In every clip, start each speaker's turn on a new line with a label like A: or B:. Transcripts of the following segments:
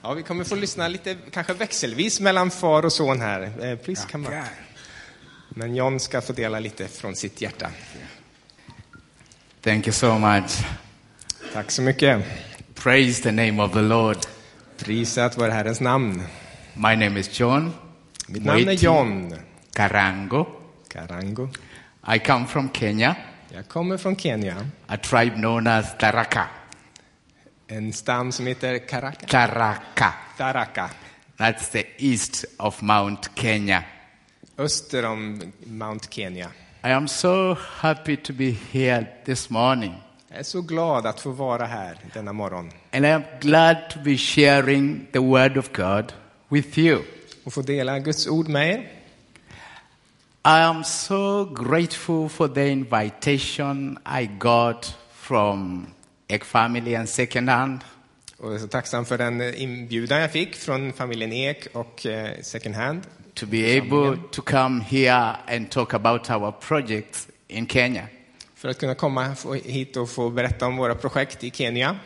A: Ja, vi kommer få lyssna lite, kanske växelvis, mellan far och son här. Eh, please come up. Men John ska få dela lite från sitt hjärta.
B: Thank you so much.
A: Tack så mycket.
B: Praise the name of the Lord.
A: Prisat vare Herrens namn.
B: My name is John
A: Mitt namn är
B: Moiti
A: John
B: Karango.
A: Karango.
B: I come from Kenya,
A: Jag kommer från Kenya.
B: a tribe known as Taraka.
A: En stam som heter Karaka.
B: Taraka.
A: Taraka.
B: That's the east of Mount Kenya.
A: Öster om Mount Kenya.
B: I am so happy to be here this morning,
A: Jag är så glad att få vara här denna morgon
B: and I am glad to be sharing the Word of God with you.
A: och få dela Guds ord med er.
B: I am so grateful for the invitation I got from Egg Family and Second Hand.
A: Och jag är så tacksam för den inbjudan jag fick från familjen Ek och eh, Second Hand.
B: to be able to come here and talk about our projects in Kenya.
A: För att kunna komma få- hit och få berätta om våra projekt i Kenya.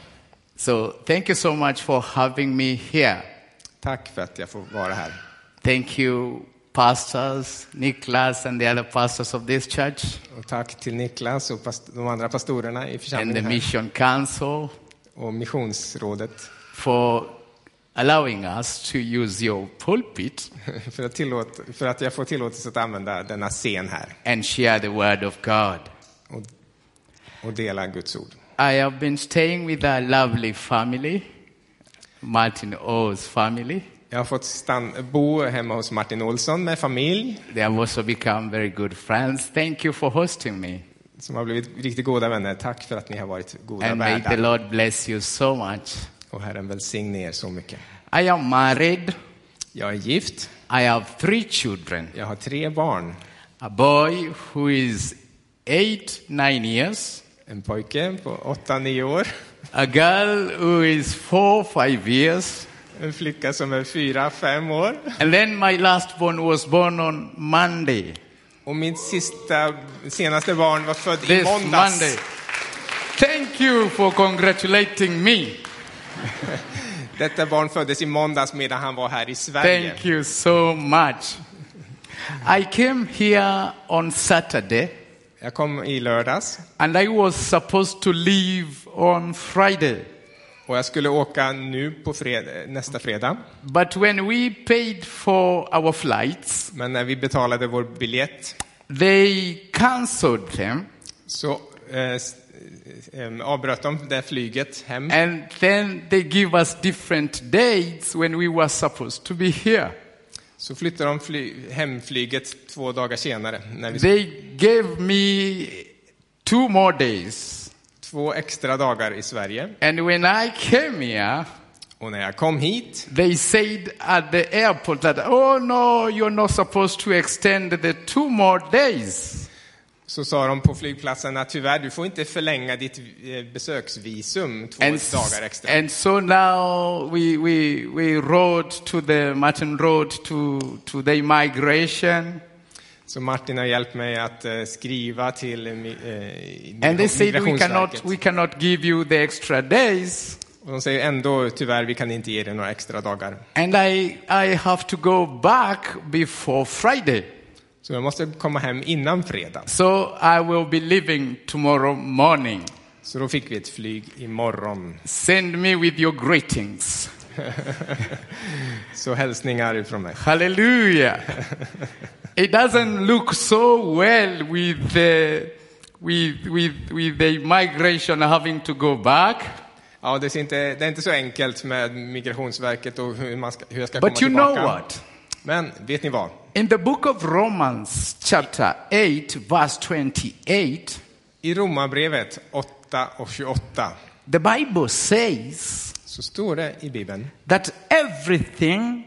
B: So thank you so much for having me here.
A: Tack för att jag får vara här.
B: Thank you, pastors, Niklas, and the other pastors of this church,
A: Och tack till Niklas och past- de andra pastorerna i
B: and the
A: församlingen här,
B: Mission Council
A: och missionsrådet
B: for allowing us to use your pulpit
A: för att, tillåt- för att jag får tillåtelse att använda denna scen här
B: and share the Word of God.
A: och, och dela Guds ord.
B: I have been staying with a lovely family, Martin O's family.
A: Jag har fått stan- bo hemma hos Martin Olsson med familj
B: They have also become very good friends. Thank you for hosting me.
A: som har blivit riktigt goda vänner. Tack för att ni har varit goda
B: And may the
A: värdar.
B: Lord bless you so much.
A: Och Herren välsigne er så mycket.
B: I am married.
A: Jag är gift.
B: I have three children
A: Jag har tre barn.
B: a boy who is eight, nine years,
A: En pojke på 8-9 år.
B: a girl who is four, five years,
A: En flicka som är 4-5 år.
B: and then my last born was born on Monday.
A: Och mitt sista, senaste barn var född i
B: This
A: måndags.
B: Monday. Thank you for congratulating me.
A: Detta barn föddes i måndags medan han var här i Sverige.
B: Thank you so much. I came here on Saturday
A: Jag kom i lördags
B: and I was supposed to leave on Friday.
A: och jag skulle åka nu på fred- nästa fredag.
B: But when we paid for our flights,
A: Men när vi betalade vår biljett
B: they cancelled them
A: så eh, s- eh, avbröt de det flyget hem.
B: and then they give us different dates when we were supposed to be here.
A: Så flyttade de fly- hemflyget två dagar senare. När vi
B: They gave me two more days.
A: två extra dagar i Sverige.
B: And when I came here,
A: Och när jag kom hit
B: they said at the airport that, oh no, you're not supposed to extend the two more days.
A: så sa de på flygplatsen att tyvärr, du får inte förlänga ditt eh, besöksvisum två
B: And, s-
A: dagar extra.
B: and so now we, we, we rode to the Martin Road to, to the migration.
A: Så Martin har hjälpt mig att eh, skriva till eh, mi- eh,
B: And they said, we
A: Migrationsverket.
B: cannot, we cannot give you the extra days.
A: Och de säger ändå tyvärr, vi kan inte ge dig några extra dagar.
B: And I, I have to go back before Friday.
A: Så jag måste komma hem innan fredag.
B: So I will be leaving tomorrow morning.
A: Så då fick vi ett flyg imorgon.
B: Send me with your greetings.
A: Så hälsningar ifrån mig.
B: Hallelujah. it doesn't look so well with the, with, with, with the migration having to go back.
A: Ja, det är, inte, det är inte så enkelt med Migrationsverket och hur, man ska, hur jag ska
B: But
A: komma
B: you know
A: tillbaka.
B: what?
A: Men vet ni vad?
B: In the book of Romans, chapter 8, verse 28,
A: I Romarbrevet 8 och 28
B: the Bible says
A: så står det i Bibeln
B: that everything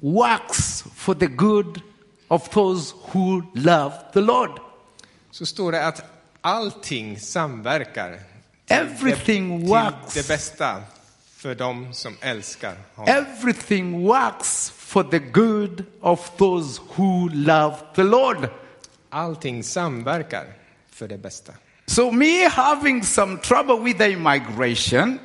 B: works for the good of those who love the Lord.
A: så står det att allting samverkar
B: Everything works.
A: till det bästa för dem som älskar honom.
B: Everything works for the good of those who love the Lord.
A: Allting samverkar för det bästa.
B: So, me having some trouble with the immigration,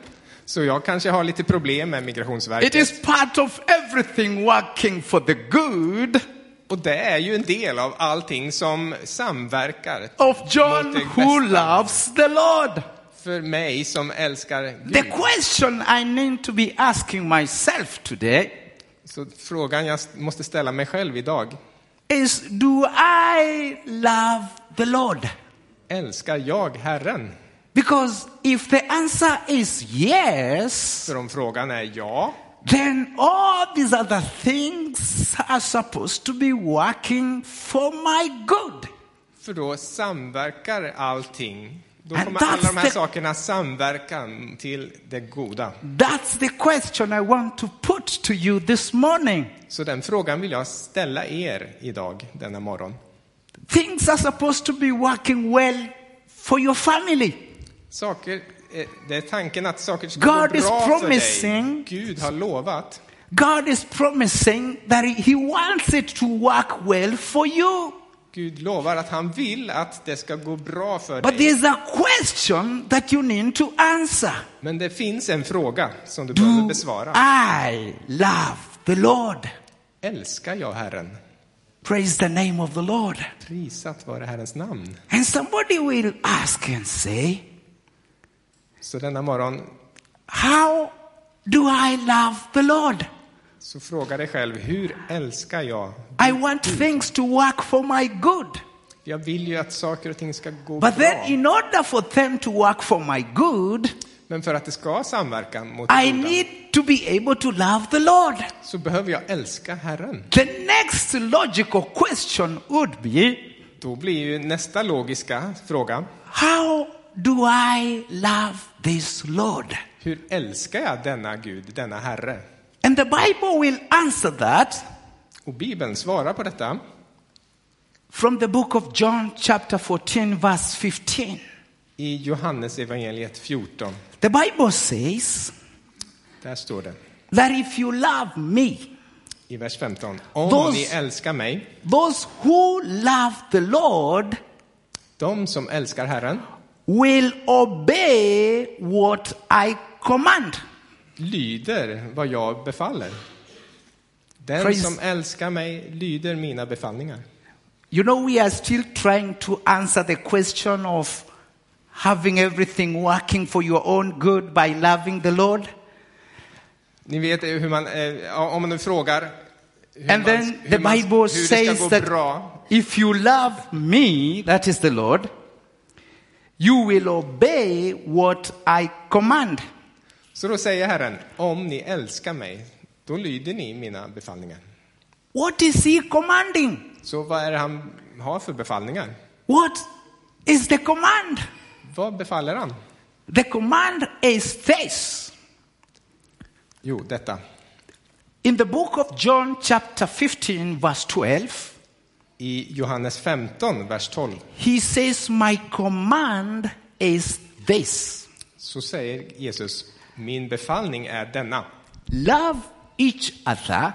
A: Så jag kanske har lite problem med Migrationsverket.
B: It is part of everything working for the good
A: Och det är ju en del av allting som samverkar
B: of John
A: Mot det
B: who
A: bästa.
B: loves the Lord.
A: för mig som älskar Gud.
B: The question I need to be asking myself today
A: Så frågan jag måste ställa mig själv idag.
B: is do I love the Lord?
A: Älskar jag Herren?
B: Because if the answer is yes,
A: För om frågan är ja,
B: then all these other things are supposed to be working for my good.
A: för då samverkar allting. Då
B: And
A: kommer alla de
B: that's
A: här
B: the-
A: sakerna samverka till det goda.
B: That's the question I want to put to you this morning.
A: Så den frågan vill jag ställa er idag, denna morgon.
B: Things are supposed to be working well for your family.
A: Saker, eh, det är tanken att saker ska
B: God
A: gå
B: is
A: bra för dig.
B: promising.
A: Gud har lovat
B: God is promising that He wants it to work well for you.
A: Gud lovar att han vill att det ska gå bra för
B: But
A: dig.
B: there's a question that you need to answer.
A: Men det finns en fråga som du behöver
B: Do
A: besvara.
B: I love the Lord?
A: Älskar jag Herren?
B: Praise the name of the Lord.
A: Prisat vare Herrens namn.
B: And somebody will ask and say,
A: Så denna morgon,
B: How do I love the Lord?
A: så fråga dig själv, hur älskar jag?
B: I want things to work for my good.
A: Jag vill ju att saker och ting ska gå
B: But
A: bra.
B: then, in order for them to work for my good,
A: Men för att det ska samverka mot
B: I
A: goda,
B: need to be able to love the Lord.
A: så behöver jag älska Herren.
B: The next logical question would be
A: Då blir ju nästa logiska fråga,
B: How do I love this Lord?
A: hur älskar jag denna Gud, denna Herre?
B: And the Bible will answer that
A: Och Bibeln svarar på detta
B: from the book of John, chapter 14, verse 15.
A: i Johannes evangeliet 14.
B: The Bible says
A: Där står det
B: that if you love me,
A: i vers 15. Om
B: Those-
A: ni älskar mig,
B: those who love the Lord
A: de som älskar Herren,
B: will obey what I command.
A: lyder vad jag befaller. Den
B: Praise-
A: som älskar mig lyder mina befallningar.
B: You know, we are still trying to answer the question of having everything working for your own good by loving the Lord.
A: Ni vet ju hur man, eh, ja, om man nu frågar hur, man,
B: And then
A: hur,
B: the
A: man,
B: Bible
A: hur det
B: says
A: ska gå
B: that
A: bra,
B: if you love me, that is the Lord, you will obey what I command.
A: så då säger Herren, om ni älskar mig, då lyder ni mina befallningar.
B: What is He commanding?
A: Så vad är det han har för befallningar?
B: What is the command?
A: Vad befaller han?
B: The command is this.
A: Jo, detta.
B: In the book of John, chapter 15, verse 12,
A: I Johannes 15, vers 12,
B: He says, My command is this
A: så säger Jesus, min befallning är denna,
B: love each other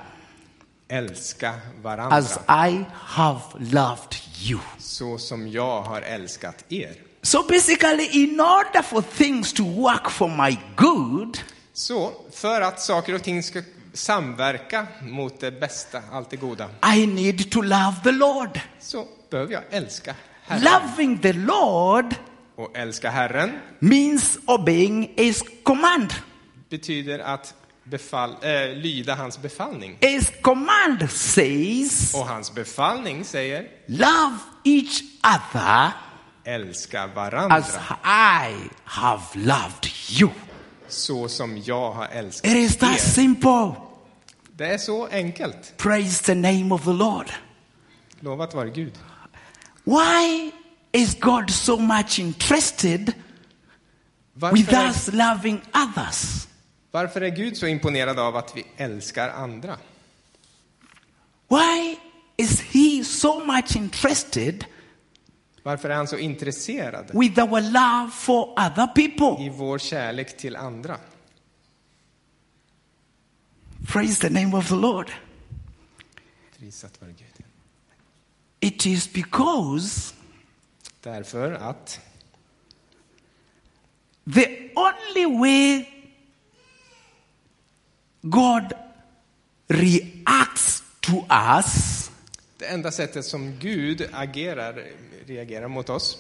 A: älska varandra
B: as I have loved you.
A: så som jag har älskat er.
B: So basically, in order for things to work for my good,
A: Så för att saker och ting ska samverka mot det bästa, allt det goda,
B: I need to love the Lord.
A: så behöver jag älska Herren.
B: Loving the Lord
A: Och älska Herren
B: means obeying His command.
A: betyder att befall, eh, lyda hans befallning.
B: His command says,
A: Och hans befallning säger
B: Love each other
A: älska varandra
B: as I have loved you.
A: så som jag har älskat
B: It is that
A: er.
B: simple.
A: Det är så enkelt.
B: Praise the name of the Lord.
A: Lovat vare Gud.
B: Why is God so much interested with
A: Varför är,
B: us loving others?
A: varför är Gud så imponerad av att vi älskar andra?
B: Why is He so much interested
A: Varför är han så intresserad
B: with our love for other people?
A: i vår kärlek till andra?
B: Praise the name of the Lord.
A: Prisat vare Gud.
B: It is because
A: Därför att
B: the only way God reacts to us
A: Det enda sättet som Gud agerar, reagerar mot oss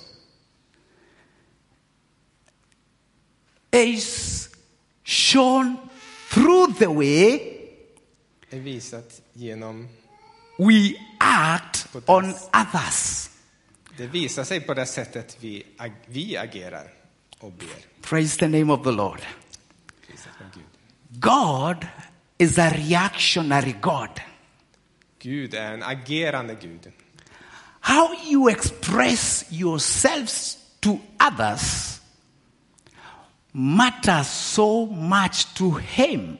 B: is shown through the way
A: är visat genom,
B: we act
A: But
B: on
A: that's-
B: others.
A: det visar sig på det sättet vi, ag, vi agerar och ber.
B: Praise the name of the Lord.
A: Priset vare Gud.
B: God is a reactionary God.
A: Gud är en agerande Gud.
B: How you express yourselves to others matters so much to Him.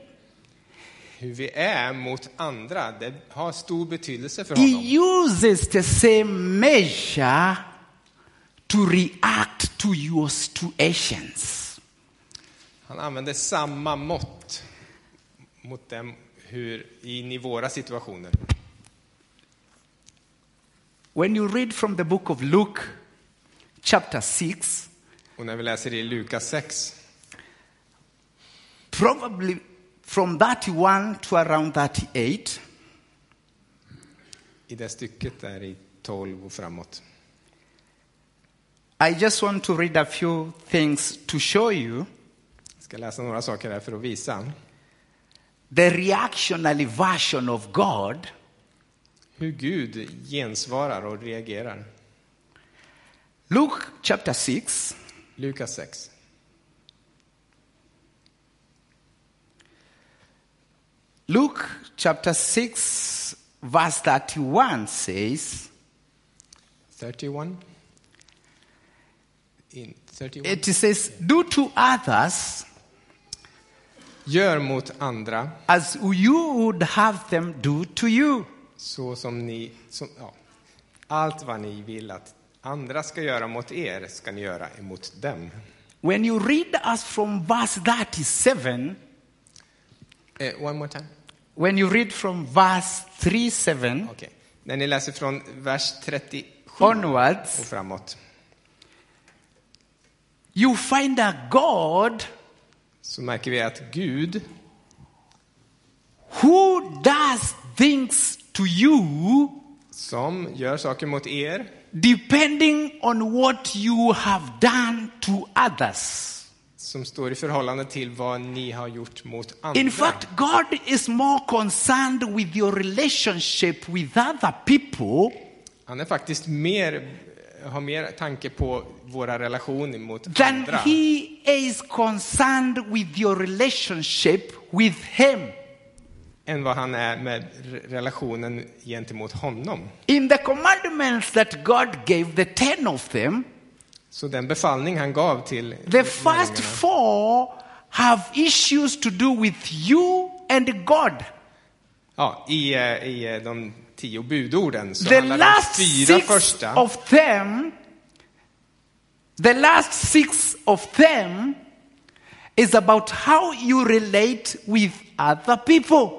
A: Hur vi är mot andra, det har stor betydelse för
B: He
A: honom.
B: uses the same measure to react to your situations.
A: Han använder samma mått mot dem hur, in i våra situationer.
B: When you read from the book of Luke, chapter 6,
A: Och när vi läser i Lukas 6,
B: probably from 31 to around 38,
A: i det stycket där i 12 och framåt.
B: I just want to read a few things to show you
A: Jag ska läsa några saker här för att visa
B: the reactionary version of God
A: hur Gud gensvarar och reagerar.
B: Luke chapter 6,
A: Lukas 6.
B: Luke chapter 6, verse 31 says,
A: 31. In 31.
B: It says, Do to others
A: Gör mot andra
B: as you would have them do to you.
A: så som ni... Som, ja. Allt vad ni vill att andra ska göra mot er ska ni göra emot dem.
B: When you read us from verse 37,
A: Eh, one more time.
B: when you read from verse 37
A: Okej. När ni läser från vers 37 och
B: onwards,
A: framåt
B: you find a God
A: så märker vi att Gud
B: who does things to you
A: som gör saker mot er
B: depending on what you have done to others.
A: som står i förhållande till vad ni har gjort mot andra.
B: In fact, God is more concerned with your relationship with other people
A: Han är faktiskt mer, har mer tanke på våra relationer mot
B: than
A: andra
B: He is concerned with your relationship with Him.
A: än vad han är med re- relationen gentemot honom.
B: In the commandments that God gave, the ten of them,
A: Så den befallning han gav till
B: the first four have issues to do with you and God.
A: ja, i, eh, i eh, de tio budorden så
B: the
A: handlar det
B: last
A: om fyra
B: six
A: första.
B: of them the last six of them is about how you relate with other people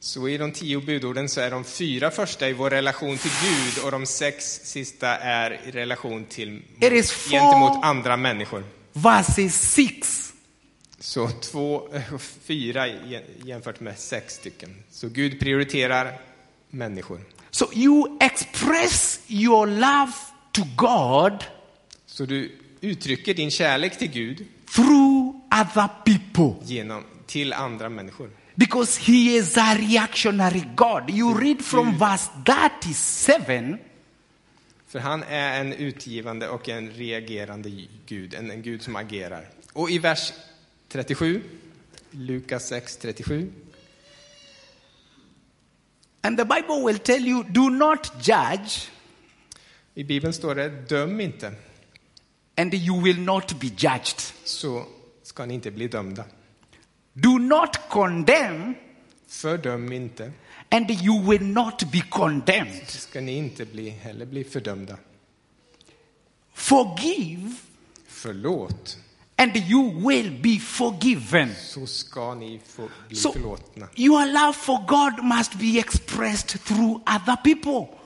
A: Så i de tio budorden så är de fyra första i vår relation till Gud och de sex sista är i relation till
B: It is four-
A: gentemot andra människor.
B: verses 6
A: Så två, eh, fyra i- jämfört med sex stycken. Så Gud prioriterar människor.
B: so you express your love to god
A: Så du uttrycker din kärlek till Gud
B: through other people
A: genom, till andra människor.
B: because he is a reactionary god you read from verse 37
A: För han är en utgivande och en reagerande Gud, en, en Gud som agerar. Och i vers 37, Lukas 6, 37.
B: and the bible will tell you do not judge
A: I Bibeln står det, döm inte,
B: and you will not be judged.
A: så ska ni inte bli dömda.
B: Do not condemn,
A: Fördöm inte,
B: and you will not be condemned.
A: så ska ni inte bli, heller bli fördömda.
B: Forgive,
A: Förlåt,
B: and you will be forgiven.
A: så ska ni få bli
B: So,
A: förlåtna.
B: your love for God must be expressed through other people.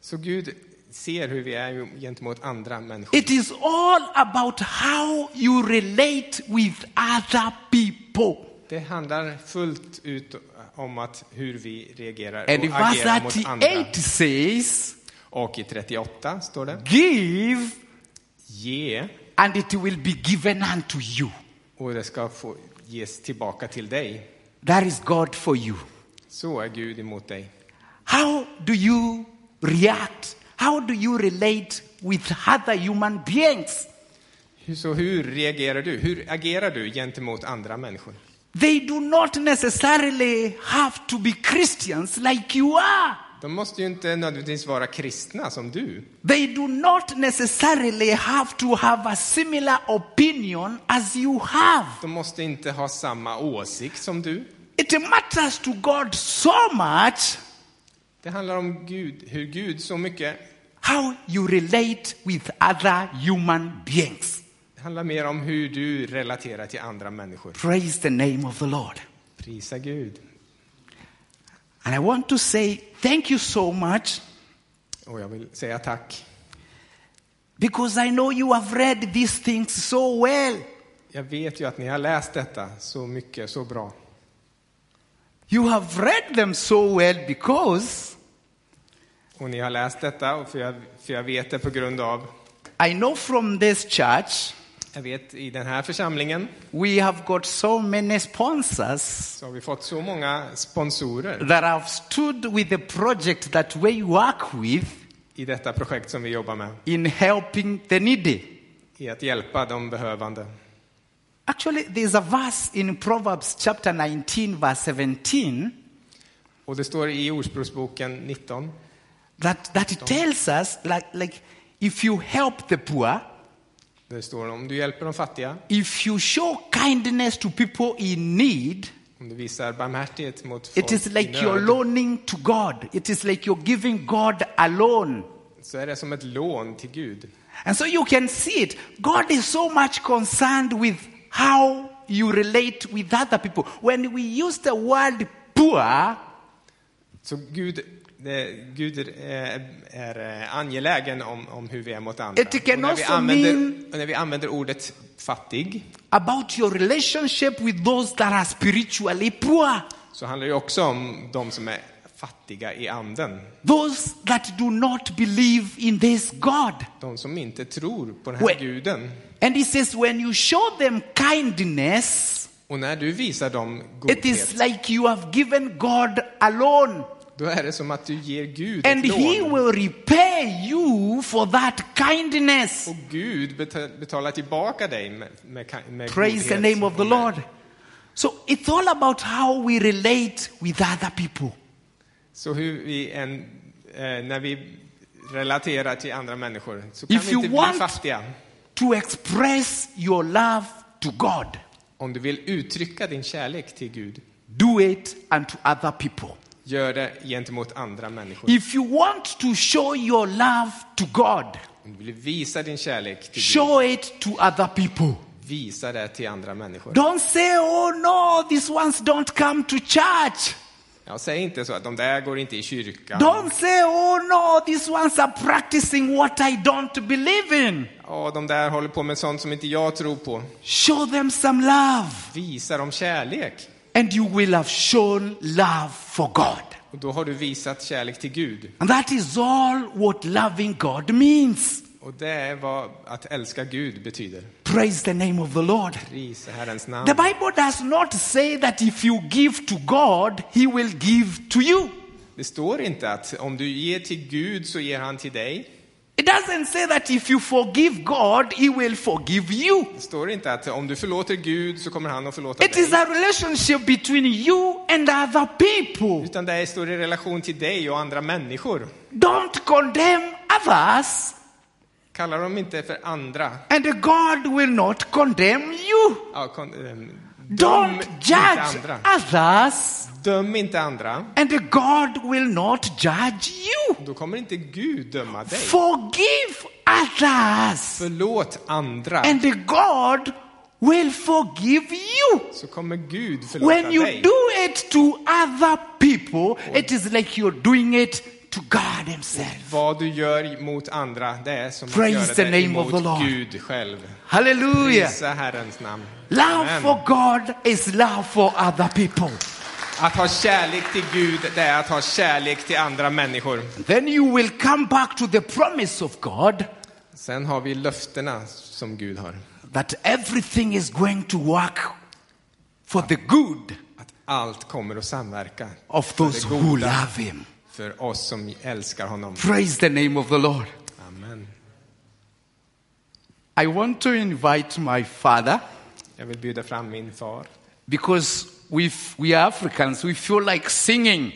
A: Så Gud ser hur vi är ju gentemot andra människor.
B: It is all about how you relate with other people.
A: Det handlar fullt ut om att hur vi reagerar
B: And in
A: och
B: verse
A: agerar mot andra.
B: 38 says,
A: Och i 38 står det
B: Give,
A: Ge
B: and it will be given unto you.
A: och det ska få ges tillbaka till dig.
B: That is God for you.
A: Så är Gud emot dig.
B: How do you react? How do you relate with other human beings?
A: Hur- Så hur reagerar du? Hur agerar du gentemot andra människor?
B: They do not necessarily have to be Christians like you are.
A: De måste ju inte nödvändigtvis vara kristna som du.
B: They do not necessarily have to have a similar opinion as you have.
A: De måste inte ha samma åsikt som du.
B: It matters to God so much
A: Det handlar om Gud, hur Gud så mycket.
B: how you relate with other human beings.
A: Det handlar mer om hur du relaterar till andra människor.
B: Praise the name of the Lord.
A: Prisa Gud.
B: And I want to say thank you so much
A: Och jag vill säga tack.
B: because I know you have read these things so well.
A: Jag vet ju att ni har läst detta så mycket, så bra.
B: You have read them so well because
A: Och ni har läst detta, och för, jag, för jag vet det på grund av...
B: I know from this church
A: Jag vet, i den här församlingen
B: we have got so many sponsors
A: så har vi fått så många sponsorer
B: that have stood with the project that we work with
A: i detta projekt som vi jobbar med,
B: in helping the needy.
A: i att hjälpa de behövande.
B: Actually, there's a verse in Proverbs chapter 19, verse 17,
A: Och det står i Ordspråksboken 19
B: that, that it tells us, like, like, if you help the poor,
A: Där det står om du hjälper de fattiga,
B: if you show kindness to people in need,
A: om du visar barmhärtighet mot folk
B: it is
A: i
B: like
A: nöd,
B: you're loaning to God. It is like you're giving God a loan.
A: så är det som ett lån till Gud.
B: And so you can see it. God is so much concerned with how you relate with other people. When we use the word poor,
A: Så Gud, det, Gud är, är eh, angelägen om, om hur vi är mot andra.
B: It can
A: Och när, vi
B: also
A: använder,
B: mean-
A: och när vi använder ordet fattig
B: about your relationship with those that are spiritually poor,
A: så handlar det också om de som är fattiga i anden.
B: those that do not believe in this God.
A: De som inte tror på den här
B: Wait.
A: guden.
B: And he says, when you show them kindness,
A: Och när du visar dem
B: it
A: godhet,
B: is like you have given God a loan.
A: då är det som att du ger Gud
B: And
A: ett
B: he
A: lån.
B: will repay you for that kindness.
A: Och Gud beta- betalar tillbaka dig med, med, ka- med
B: Praise the
A: godhet
B: name of the
A: och med-
B: Lord. So it's all about how we relate with other people.
A: Så hur vi än, eh, när vi relaterar till andra människor så kan
B: If
A: vi
B: you
A: inte bli
B: want-
A: fattiga.
B: To express your love to God,
A: Om du vill uttrycka din kärlek till Gud,
B: do it unto other people.
A: gör det gentemot andra människor.
B: If you want to show your love to God,
A: Om du vill visa din kärlek till Gud,
B: show it to other people.
A: visa det till andra människor.
B: Don't say, oh no, these ones don't come to church.
A: Ja, säg inte så att de där går inte i kyrkan.
B: Don't say, oh no, these ones are practicing what I don't believe in.
A: Ja, de där håller på med sånt som inte jag tror på.
B: Show them some love.
A: Visa dem kärlek.
B: and you will have shown love for God.
A: Och då har du visat kärlek till Gud.
B: And that is all what loving God means.
A: Och det är vad att älska Gud betyder.
B: Praise the name of the Lord.
A: Prisa Herrens namn.
B: The Bible does not say that if you give to God, He will give to you.
A: Det står inte att om du ger till Gud så ger han till dig.
B: It doesn't say that if you forgive God, He will forgive you.
A: Det står inte att om du förlåter Gud så kommer han att förlåta
B: It is
A: dig.
B: a relationship between you and other people.
A: Utan det står i relation till dig och andra människor.
B: Don't condemn others,
A: Kalla dem inte för andra.
B: and God will not condemn you.
A: Ja, kon, ehm, döm
B: Don't
A: inte
B: judge
A: andra.
B: others.
A: Döm inte andra.
B: And God will not judge you.
A: Då kommer inte Gud döma dig.
B: Forgive others.
A: Förlåt andra.
B: And God will forgive you.
A: Så kommer Gud förlåta
B: When you
A: dig.
B: do it to other people, it is like you're doing it to God Himself.
A: Vad du gör mot andra, det är som att
B: Praise
A: göra
B: the
A: det
B: name of the
A: emot
B: Lord.
A: Gud själv.
B: Hallelujah.
A: Prisa Herrens namn.
B: Love
A: Amen.
B: for God is love for other people.
A: Att ha kärlek till Gud, det är att ha kärlek till andra människor.
B: Then you will come back to the promise of God
A: Sen har vi löftena som Gud har.
B: that everything is going to work for the good
A: Att allt kommer att samverka
B: of those
A: det
B: who
A: goda.
B: love Him.
A: för oss som älskar honom.
B: Praise the name of the Lord.
A: Amen.
B: I want to invite my father
A: Jag vill bjuda fram min far.
B: because we, f- we are Africans. We feel like singing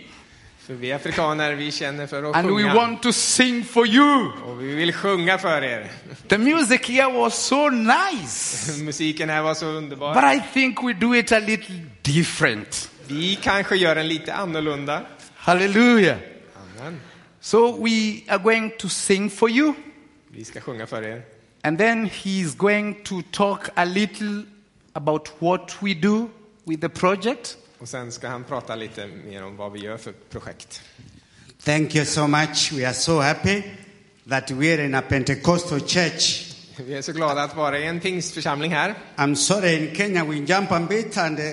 A: För vi afrikaner, vi känner för att
B: and we
A: sjunga.
B: want to sing for you.
A: Och vi vill sjunga för er.
B: The music here was so nice,
A: Musiken här var så underbar.
B: but I think we do it a little different.
A: Vi kanske gör den lite annorlunda.
B: Hallelujah.
A: Amen.
B: So we are going to sing for you,
A: Vi ska sjunga för er.
B: and then he's going to talk a little about what we do with the project.
A: Och sen ska han prata lite mer om vad vi gör för projekt.
C: Thank you so much. We are so happy that we are in a Pentecostal church.
A: Vi är så glada att vara i en pingstförsamling här.
C: I'm sorry, in Kenya we jump a bit and uh,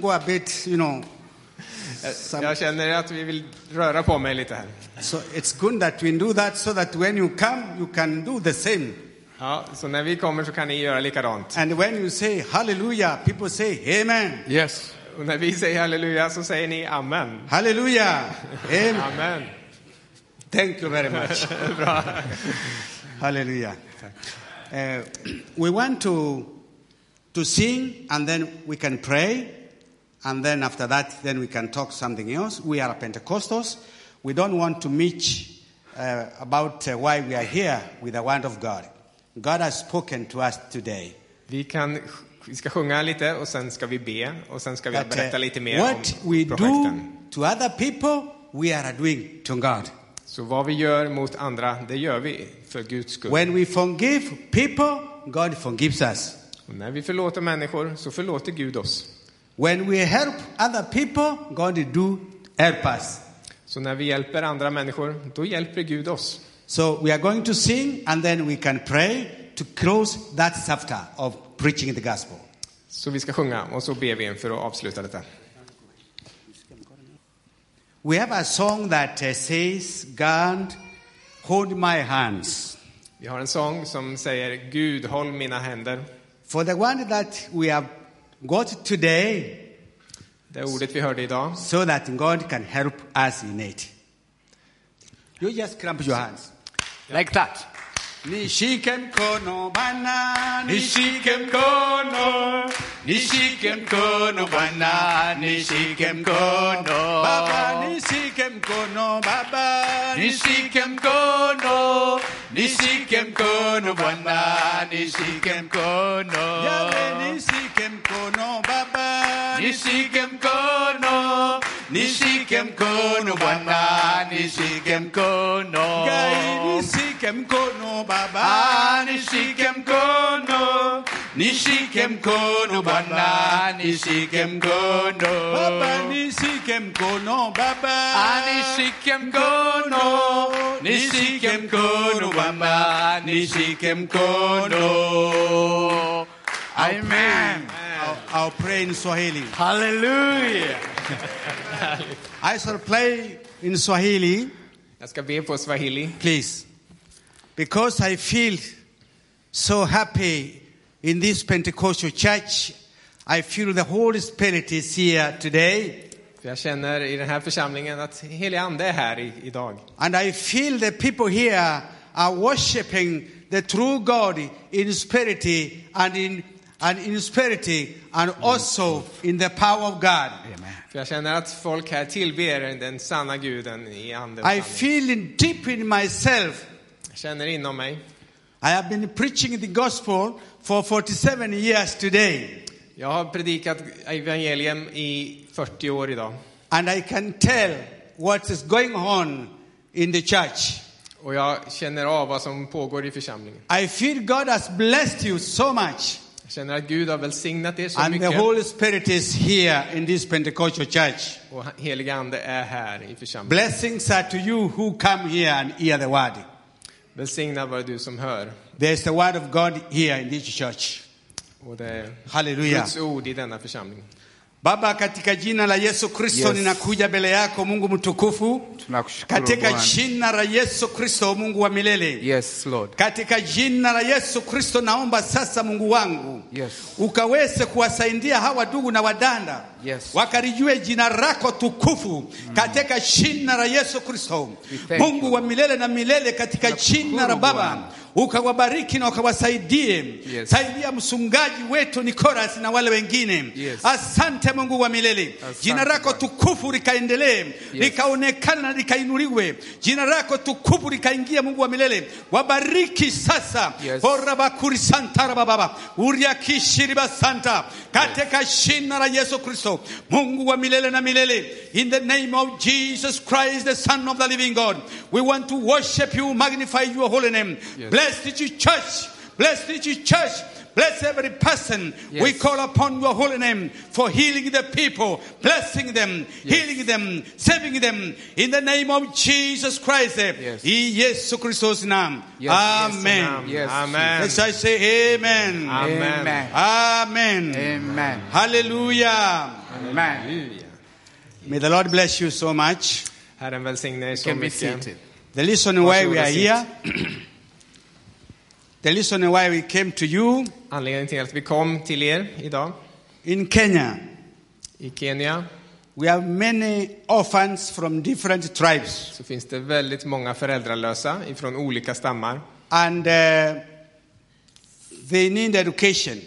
C: go a bit, you know. Some,
A: Jag känner att vi vill röra på mig lite här.
C: so it's good that we do that so that when you come, you can do the same.
A: Ja, så när vi kommer så kan ni göra likadant.
C: And when you say hallelujah, people say amen.
B: Yes.
A: Och när vi säger halleluja så säger ni amen.
C: Hallelujah. Amen.
A: Amen.
C: Thank you very much. Hallelujah. Uh, we want to, to sing and then we can pray. And then after that, then we can talk something else. We are Pentecostals. We don't want to meet uh, about uh, why we are here with the word of God. God has spoken to us today.
A: Vi, kan, vi ska sjunga lite och sen ska vi be och sen ska vi
C: That, uh,
A: berätta lite mer om
C: what we do
A: projekten.
C: to other people, we are doing to God.
A: Så vad vi gör mot andra, det gör vi för Guds skull.
C: When we forgive people, God forgives us.
A: Och när vi förlåter människor så förlåter Gud oss.
C: When we help other people, God do help us.
A: Så när vi hjälper andra människor, då hjälper Gud oss.
C: So we are going to sing and then we can pray to close that chapter of preaching the gospel.
A: Så vi ska sjunga och så ber vi en för att avsluta detta.
C: We have a song that uh, says, God, hold my hands.
A: Vi har en sång som säger Gud, håll mina händer.
C: For the one that we have got today,
A: Det ordet vi hörde idag.
C: so that God can help us in it. You just cramp your hands.
B: Like that.
C: Nishike mkono bana,
B: Nishike mkono, nishike mkono bwana, nishike mkono.
C: Baba nishike mkono baba
B: Nishike mkono, nishike mkono bwana, nishike mkono.
C: Yahweh nishike mkono baba
B: Nishike mkono, nishike mkono Bwana, nishike mkono.
C: Gai nishike mkono baba
B: Ah, nishike mkono, nishike mkono Bwana, nishike mkono.
C: Baba nishike mkono baba
B: Ah, nishike mkono, nishike mkono Bwana, nishike mkono. Amen.
C: I'll, I'll pray in Swahili
B: Hallelujah.
C: I shall play in Swahili
A: Jag ska be på swahili.
C: please because I feel so happy in this Pentecostal church I feel the Holy Spirit is here today
A: För jag känner i den här församlingen att helig ande är här i, idag.
C: And I feel the people here are worshiping the true God in spirit and in and in spirit and also in the power of God.
A: För jag känner att folk här tillber den sanna guden i ande och
C: I
A: sanning.
C: feel in deep in myself.
A: Jag känner inom mig.
C: I have been preaching the gospel for 47 years today.
A: Jag har predikat evangelium i 40 år idag.
C: And I can tell what is going on in the church.
A: Och jag känner av vad som pågår i församlingen.
C: I feel God has blessed you so much.
A: Jag känner att Gud har välsignat er så
C: And the
A: mycket.
C: Holy Spirit is here in this Pentecostal church.
A: Och heliga Ande är här i församlingen.
C: Blessings are to you who come here and hear the word.
A: Välsignad var du som hör.
C: There's the word of God here in this church.
A: Och det är
C: Hallelujah.
A: Guds ord i denna församling.
C: Baba, katika jina la Yesu Kristo
B: Yes.
C: ninakuja mbele yako Mungu mtukufu,
B: Tunakushukuru
C: katika
B: Bwana.
C: jina la Yesu Kristo, Mungu wa milele.
B: Yes, Lord.
C: Katika jina la Yesu Kristo naomba sasa Mungu wangu
B: Yes.
C: ukaweze kuwasaidia hawa ndugu na wadanda
B: Yes. Mm.
C: wakalijue jina lako tukufu katika jina la Yesu Kristo.
B: We thank
C: Mungu
B: you.
C: wa milele na milele, katika
B: Tunashukuru
C: jina la
B: Bwana.
C: Baba ukawabariki na ukawasaidie.
B: Yes.
C: Saidia msungaji wetu Nicolas na wale wengine.
B: Yes.
C: Asante Mungu wa milele,
B: Asante
C: jina lako
B: Bwana.
C: tukufu likaendelee
B: Yes.
C: likaonekana na likainuliwe, jina lako tukufu likaingia. Mungu wa milele, wabariki sasa
B: Yes.
C: orabakuri santara bababa uriakishiriba santa katika jina la Yesu Kristo, Mungu wa milele na milele. In the name of Jesus Christ, the Son of the living God, we want to worship you, magnify your holy name.
B: Yes.
C: Bless the church, bless the church. Bless every person.
B: Yes.
C: We call upon your holy name for healing the people, blessing them, healing them, saving them. In the name of Jesus Christ.
B: Yes.
C: In Yesu Christos name.
B: Yes.
C: Amen.
A: Amen.
B: Yes,
A: Amen.
C: Yes, I say amen.
A: Amen.
B: Amen.
C: Amen.
B: Amen.
C: Hallelujah.
B: Amen.
A: Halleluja.
C: May the Lord bless you so much.
A: Herren välsigne er så
B: Can be
A: mycket.
B: seated.
C: The reason why we
A: Varsågoda,
C: are
A: sitt.
C: here, the reason why we came to you
A: Anledningen till att vi kom till er idag
C: in Kenya,
A: i Kenya
C: we have many orphans from different tribes.
A: så finns det väldigt många föräldralösa ifrån olika stammar.
C: and uh, they need education,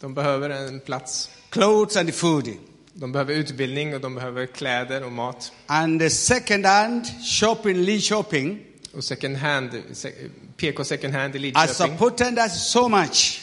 A: De behöver en plats.
C: clothes, and food.
A: De behöver utbildning och de behöver kläder och mat.
C: And the second-hand shopping, lead shopping,
A: Och second hand, se- PK second hand i
C: has
A: Lidköping
C: supported us so much.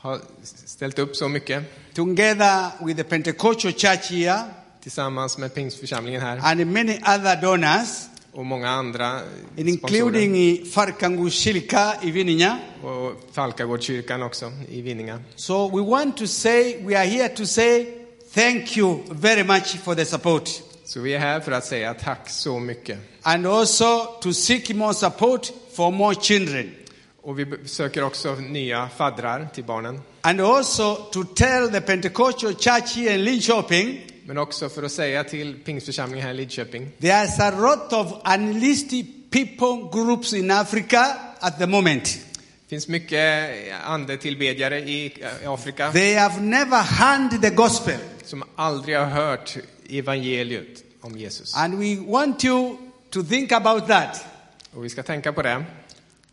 A: har ställt upp så mycket
C: Together with the Pentecostal church here
A: tillsammans med Pingstförsamlingen här
C: and many other donors,
A: och många andra sponsorer.
C: including Farkangu Shilka Ivininya.
A: Och Falkagårdskyrkan också i Vinninga.
C: So we want to say, we are here to say thank you very much for the support.
A: Så vi är här för att säga tack så mycket.
C: And also to seek more support for more children.
A: Och vi b- söker också nya faddrar till barnen.
C: And also to tell the Pentecostal church here in Linköping,
A: Men också för att säga till Pingstförsamlingen här i Lidköping.
C: there's a lot of unlisted people groups in Africa at the moment.
A: Det finns mycket andetillbedjare i eh, i Afrika
C: They have never heard the gospel.
A: som aldrig har hört evangeliet om Jesus.
C: And we want you to think about that.
A: Och vi ska tänka på det.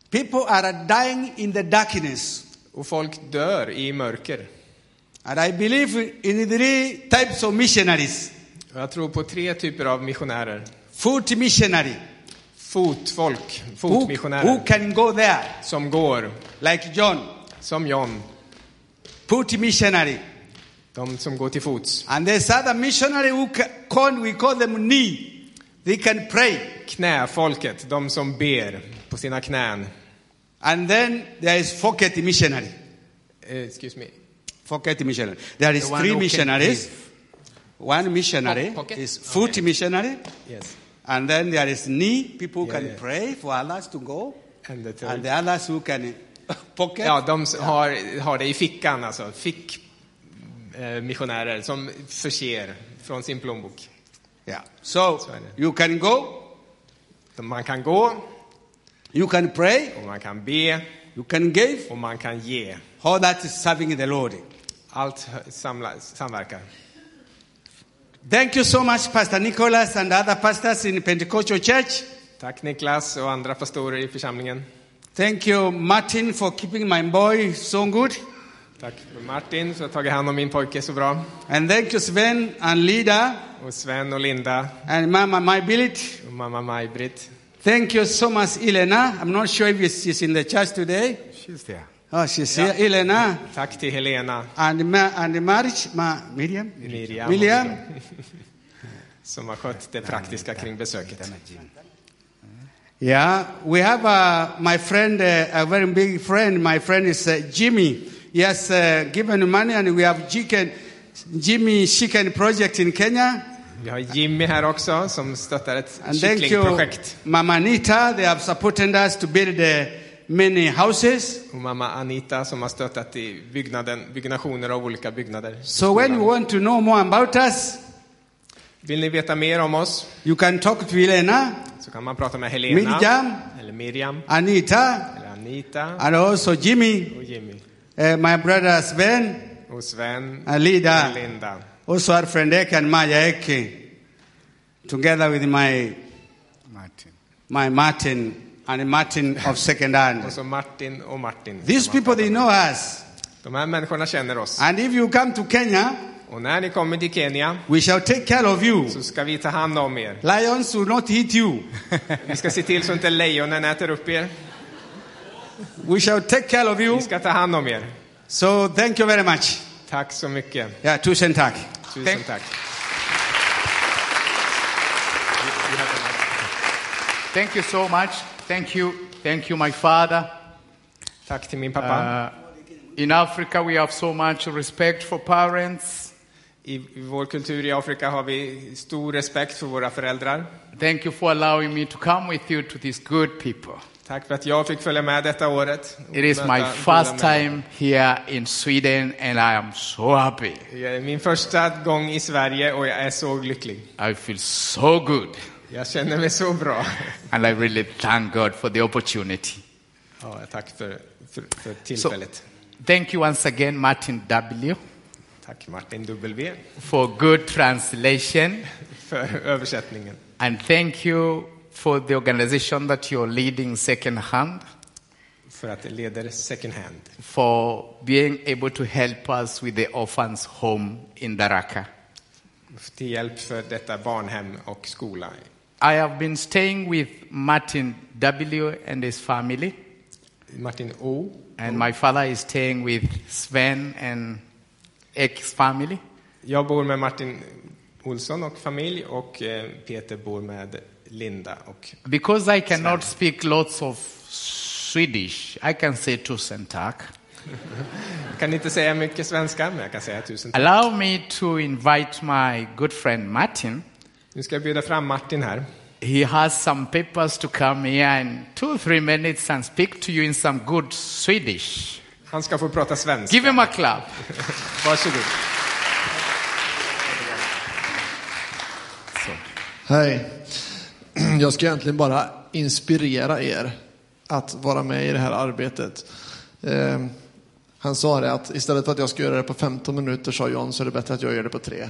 C: People are dying in the darkness.
A: Och folk dör i mörker.
C: And I believe in three types of missionaries
A: Och jag tror på tre typer av missionärer.
C: foot missionary,
A: Fotfolk,
C: who, who
A: fotmissionärer,
C: can go there,
A: som går,
C: like John,
A: som John,
C: foot missionary.
A: de som går till fots.
C: And there's other missionary who ca- call, we call them knee. They can pray.
A: Knäfolket, de som ber på sina knän.
C: And then there is forget missionary.
A: Eh, excuse me.
C: Forget missionary. There is
B: The one
C: three
B: who can
C: missionaries. One missionary
A: Po- pocket?
C: is foot missionary.
A: Yes.
C: And then there is knee, people who
A: Yeah,
C: can
A: yeah.
C: pray for others to go.
A: And the third.
C: And the others who can pocket.
A: Ja, de s- har, har det i fickan alltså. Fick eh, missionärer som förser från sin plånbok.
C: Yeah. So
A: So I know.
C: you can go,
A: De- Man kan gå,
C: you can pray,
A: och man kan be,
C: you can give.
A: och man kan ge.
C: All that is serving the Lord.
A: Allt hö- samla, samverkar.
C: Thank you so much, Pastor Nicholas and other pastors in Pentecostal Church.
A: Tack Niklas och andra pastorer i församlingen.
C: Thank you, Martin, for keeping my boy so good.
A: Tack för Martin som har tagit hand om min pojke så bra.
C: And thank you, Sven and Lida
A: Och Sven och Linda
C: and Mama My Billet.
A: och mamma Maj-Britt.
C: Thank you so much, Elena. I'm not sure if she's in the church today.
B: She's there.
C: Oh, she's here. Elena
A: Tack till Helena
C: and, Ma- and Marge, Ma- Miriam?
A: Miriam.
C: William.
A: som har skött det praktiska kring besöket.
C: Yeah, we have uh, my friend, uh, a very big friend. My friend is uh, Jimmy. He has uh, given money, and we have chicken, Jimmy Chicken Project in Kenya.
A: Vi har Jimmy här också som stöttar ett
C: And thank you,
A: kycklingprojekt.
C: Mama Nita. They have supported us to build uh, many houses.
A: Och mamma Anita som har stöttat i byggnaden, byggnationer av olika byggnader.
C: So when you want to know more about us,
A: Vill ni veta mer om oss
C: you can talk to Elena,
A: så kan man prata med Helena,
C: Miriam.
A: eller Miriam,
C: Anita,
A: eller Anita
C: and also Jimmy,
A: och Jimmy.
C: uh, my brother Sven,
A: Och Sven
C: and Lida.
A: och Linda.
C: Also, our friend Eke and Maya Eke, together with my,
B: Martin.
C: my Martin and Martin of second
A: Och
C: hand.
A: så Martin och Martin.
C: These people, they know us.
A: De här människorna känner oss.
C: And if you come to Kenya,
A: Och när ni kommer till Kenya
C: we shall take care of you.
A: så ska vi ta hand om er.
C: Lions will not hit you.
A: Vi ska se till så inte lejonen äter upp er.
C: we shall take care of you.
A: Vi ska ta hand om er.
C: So, thank you very much.
A: Tack så mycket.
C: Yeah, two centak.
A: Tusen tack.
B: Thank you so much. Thank you. Thank you, my father.
A: Tack till min pappa.
B: Uh, in Africa, we have so much respect for parents.
A: I i vår kultur i Afrika har vi stor respekt för våra föräldrar.
B: Thank you for allowing me to come with you to these good people.
A: Tack för att jag fick följa med detta året.
B: It is my
A: Möta
B: first
A: goda människor.
B: time here in Sweden, and I am so happy.
A: Det är Min första gång i Sverige och jag är så lycklig.
B: I feel so good.
A: Jag känner mig så bra.
B: And I really thank God for the opportunity.
A: Ja, tack för, för, för
B: So,
A: tillfället.
B: thank you once again, Martin W.,
A: Tack Martin W
B: for good translation.
A: för översättningen.
B: And thank you for the organization that you're leading second hand
A: För att det leder second hand.
B: for being able to help us with the orphans home in Daraka.
A: Till hjälp för detta barnhem och skola.
B: I have been staying with Martin W. and his family,
A: Martin O.
B: and my father is staying with Sven and Ek's family.
A: Jag bor med Martin Olsson och familj och eh, Peter bor med Linda och
B: Because I cannot speak lots of Swedish, I can say tusen tack.
A: jag kan inte säga mycket svenska men jag kan säga tusen tack.
B: Allow me to invite my good friend Martin.
A: Nu ska jag bjuda fram Martin här.
B: He has some papers to come here in two, three minutes and speak to you in some good Swedish.
A: Han ska få prata svenska.
B: Give him a clap.
A: Varsågod.
D: Hej. Jag ska egentligen bara inspirera er att vara med i det här arbetet. Eh, han sa det att istället för att jag ska göra det på 15 minuter, sa John, så är det bättre att jag gör det på tre.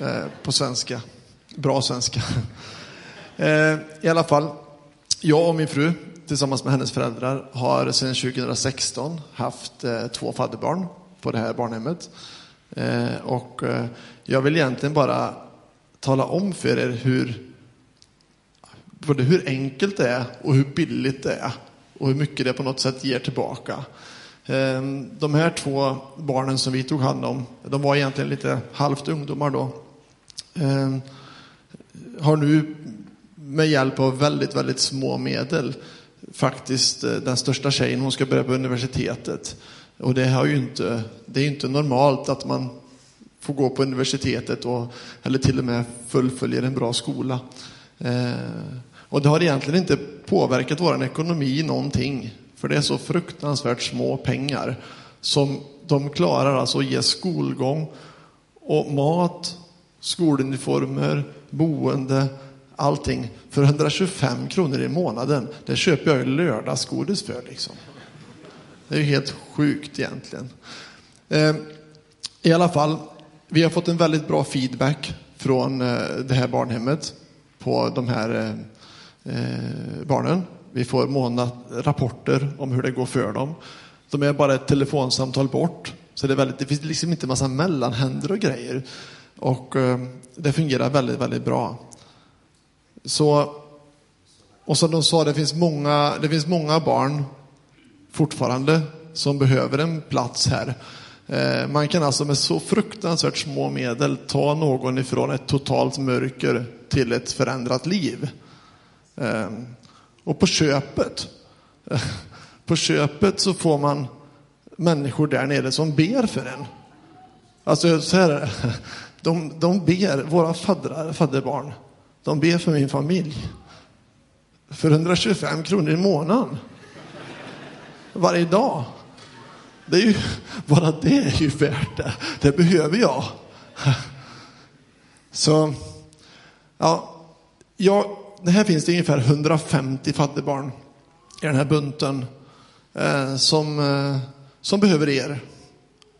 D: Eh, på svenska. Bra svenska. Eh, I alla fall, jag och min fru tillsammans med hennes föräldrar har sedan 2016 haft eh, två fadderbarn på det här barnhemmet. Eh, och eh, jag vill egentligen bara tala om för er hur, både hur enkelt det är och hur billigt det är och hur mycket det på något sätt ger tillbaka. Ehm, De här två barnen som vi tog hand om, de var egentligen lite halvt ungdomar då. Ehm, har nu med hjälp av väldigt, väldigt små medel faktiskt eh, den största tjejen, hon ska börja på universitetet. Och det, har ju inte, det är ju inte normalt att man får gå på universitetet och, eller till och med fullföljer en bra skola. Eh, och det har egentligen inte påverkat vår ekonomi någonting, för det är så fruktansvärt små pengar som de klarar alltså att ge skolgång och mat, skoluniformer, boende, allting för 125 kronor i månaden. Det köper jag ju lördagsgodis för liksom. Det är ju helt sjukt egentligen. Eh, I alla fall, vi har fått en väldigt bra feedback från eh, det här barnhemmet på de här eh, eh, barnen. Vi får månad rapporter om hur det går för dem. De är bara ett telefonsamtal bort. Så det, är väldigt, det finns liksom inte massa mellanhänder och grejer. Och eh, det fungerar väldigt, väldigt bra. Så, och som de sa, det finns många, det finns många barn fortfarande som behöver en plats här. Eh, Man kan alltså med så fruktansvärt små medel ta någon ifrån ett totalt mörker till ett förändrat liv. Eh, Och på köpet, på köpet så får man människor där nere som ber för en. Alltså så här, är det. de, de ber, våra faddrar, fadderbarn, de ber för min familj. För 125 kronor i månaden. Varje dag. Det är ju, bara det är ju värt det. Det behöver jag. Så, ja, ja, det här finns det ungefär 150 fattigbarn i den här bunten eh, som, eh, som behöver er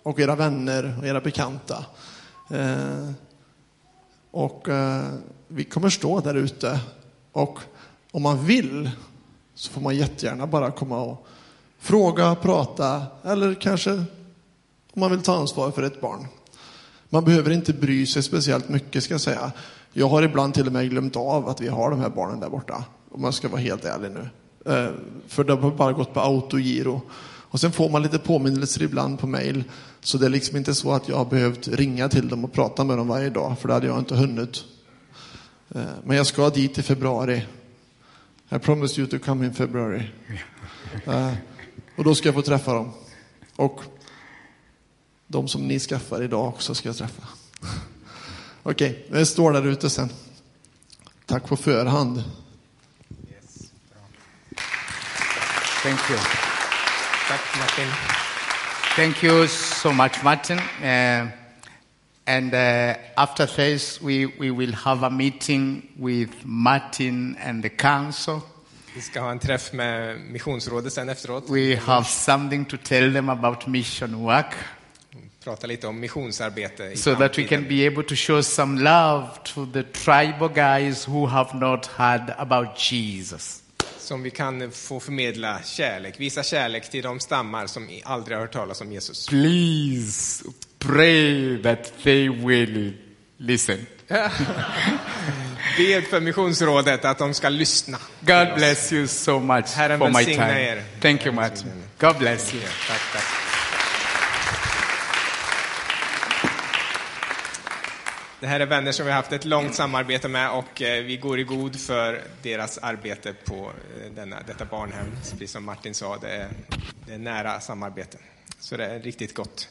D: och era vänner och era bekanta. Eh, och eh, vi kommer stå där ute och om man vill så får man jättegärna bara komma och fråga, prata eller kanske om man vill ta ansvar för ett barn. Man behöver inte bry sig speciellt mycket ska jag säga. Jag har ibland till och med glömt av att vi har de här barnen där borta. Om jag ska vara helt ärlig nu. Eh, För det har bara gått på autogiro. Och sen får man lite påminnelser ibland på mail. Så det är liksom inte så att jag har behövt ringa till dem och prata med dem varje dag. För det hade jag inte hunnit. Eh, Men jag ska dit i februari. I promised you to come in February. Eh, Och då ska jag få träffa dem. Och de som ni skaffar idag också ska jag träffa. Okej, jag står där ute sen. Tack på förhand.
B: Thank you.
A: Tack Martin.
B: Thank you so much, Martin. Uh, and uh, after this, we, we will have a meeting with Martin and the council.
A: Vi ska ha en träff med missionsrådet sen efteråt.
B: We have something to tell them about mission work
A: Prata lite om missionsarbete i
B: so that we
A: framtiden.
B: can be able to show some love to the tribal guys who have not heard about Jesus.
A: Som vi kan få förmedla kärlek, visa kärlek till de stammar som i- aldrig har hört talas om Jesus.
B: Please pray that they will listen.
A: Bed för missionsrådet att de ska lyssna.
B: God bless you so much
A: Herren
B: for my
A: välsigne
B: time.
A: er.
B: Thank
A: Herren
B: you, Martin.
A: välsigne
B: God bless you.
A: Tack, tack. Det här är vänner som vi har haft ett långt samarbete med och eh, vi går i god för deras arbete på eh, denna, detta barnhem. Precis som Martin sa, det är, det är nära samarbete. Så det är riktigt gott.